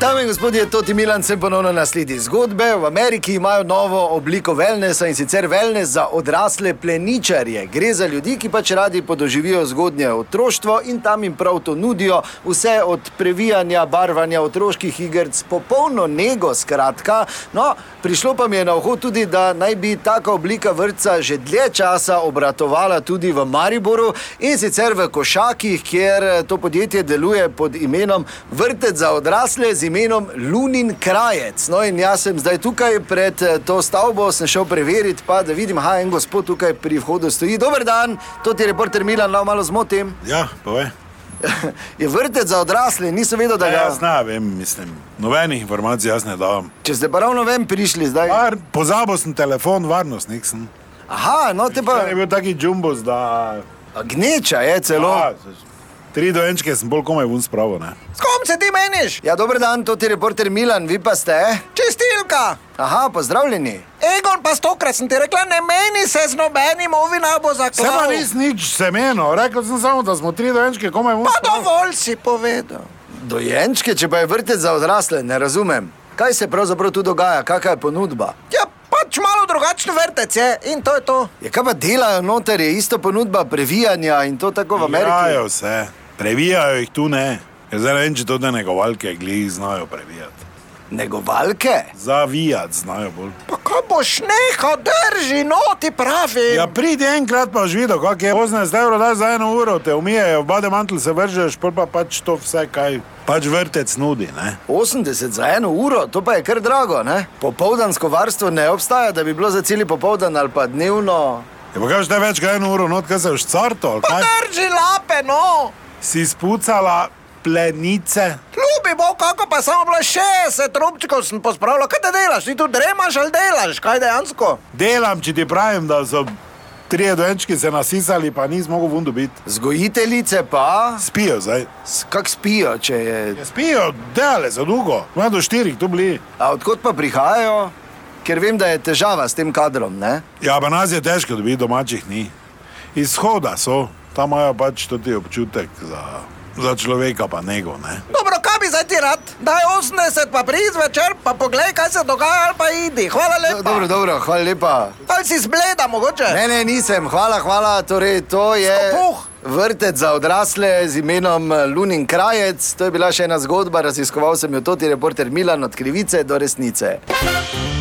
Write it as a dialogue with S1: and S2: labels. S1: Dame in gospodje, Toti Milan sem ponovno na sledi zgodbe. V Ameriki imajo novo obliko wellnessa in sicer wellness za odrasle pleničarje. Gre za ljudi, ki pač radi podoživijo zgodnje otroštvo in tam jim prav to nudijo, vse od previjanja, barvanja otroških igric, popolno nego skratka. No, prišlo pa mi je na uho tudi, da naj bi taka oblika vrtca že dlje časa obratovala tudi v Mariboru in sicer v Košakih, kjer eh, to podjetje deluje pod imenom Vrtec za odrasle z imenom Lunin krajec. No, in jaz sem zdaj tukaj pred eh, to stavbo, sem šel preveriti, pa da vidim, da en gospod tukaj pri vhodu stoji. Dober dan, to ti reporter Milan, no malo zmotim.
S2: Ja, povej.
S1: Je vrtec za odrasle, nisem vedel, da
S2: Ja, jaz
S1: ga.
S2: ne vem, mislim. Nobenih informacij jaz ne davam.
S1: Če ste pa ravno ven prišli zdaj.
S2: Var, pozabil sem telefon, varnostnik sem.
S1: Aha, no te pa.
S2: Pa je bil taki džumbos, da...
S1: A Gneča je celo.
S2: Ja, tri dojenčke sem bolj komaj vun spravo, ne.
S3: S kom se ti meniš?
S1: Ja, dober dan, to ti reporter Milan, vi pa ste.
S3: Čistilka!
S1: Aha, pozdravljeni.
S3: Egon, pa stokrat sem ti rekla, ne meni se z nobenim ovinabo za
S2: Se pa
S3: kavo.
S2: nisem nič semeno, rekel sem samo, da smo tri dojenčke komaj vun
S3: Pa
S2: spravo.
S3: dovolj si povedal.
S1: Dojenčke, če pa je vrtec za odrasle, ne razumem. Kaj se pravzaprav tu dogaja, kakšna je ponudba?
S3: Ja, pač malo drugačen vrtec je in to je to.
S1: Je Ja, kaj pa delajo noter, je isto ponudba previjanja in to tako v Ameriki.
S2: Igrajo se, previjajo jih tu ne. Ker zdaj ne vem, če to te negovalke glih znajo previjati.
S1: Negovalke?
S2: Zavijati znajo bolj.
S3: Pa ko boš nehal, drži, no ti pravi.
S2: Ja, pridi enkrat pa že videl, kako je 18 evrov daš za eno uro, te umijejo, v bademantl se vržeš, pol pa pač to vse, kaj pač vrtec nudi, ne.
S1: 80 za eno uro, to pa je kar drago, ne? Popoldansko varstvo ne obstaja, da bi bilo za celi popoldan ali pa dnevno.
S2: Je pa kaj že več kot eno uro, not kaj se už carto, ali
S3: Pa
S2: kaj
S3: drži lape, no.
S2: si spucala plenice.
S3: Ljubi bo, kako pa samo bilo 60 trupčkov sem pospravljal. Kaj te delaš? Ti tu dremaš ali delaš? Kaj dejansko?
S2: Delam, če ti pravim, da so trije dojenčki se nasisali, pa nisem mogel vun dobiti.
S1: Zgojiteljice pa,
S2: Spijo zdaj.
S1: s- kako spijo, če je.
S2: Ja, spijo, delale so dolgo, ima do štirih tu bili.
S1: A odkot pa prihajajo? Ker vem, da je težava s tem kadrom, ne?
S2: Ja, pa nas je težko dobiti, domačih ni. Izhoda so, tam imajo pač tudi občutek za, za človeka, pa nego. Ne?
S3: Dobro, kaj bi zdaj ti rad? Daj 80, pa prid zvečer, pa poglej, kaj se dogaja, ali pa idi. Hvala
S1: Do,
S3: lepa.
S1: dobro, dobro, hvala lepa.
S3: Ali si zbleda mogoče?
S1: Ne, ne, nisem, hvala, hvala. Torej, to je
S3: Skopuh.
S1: vrtec za odrasle z imenom Lunin krajec. To je bila še ena zgodba, raziskoval sem jo tudi reporter Milan od krivice do resnice.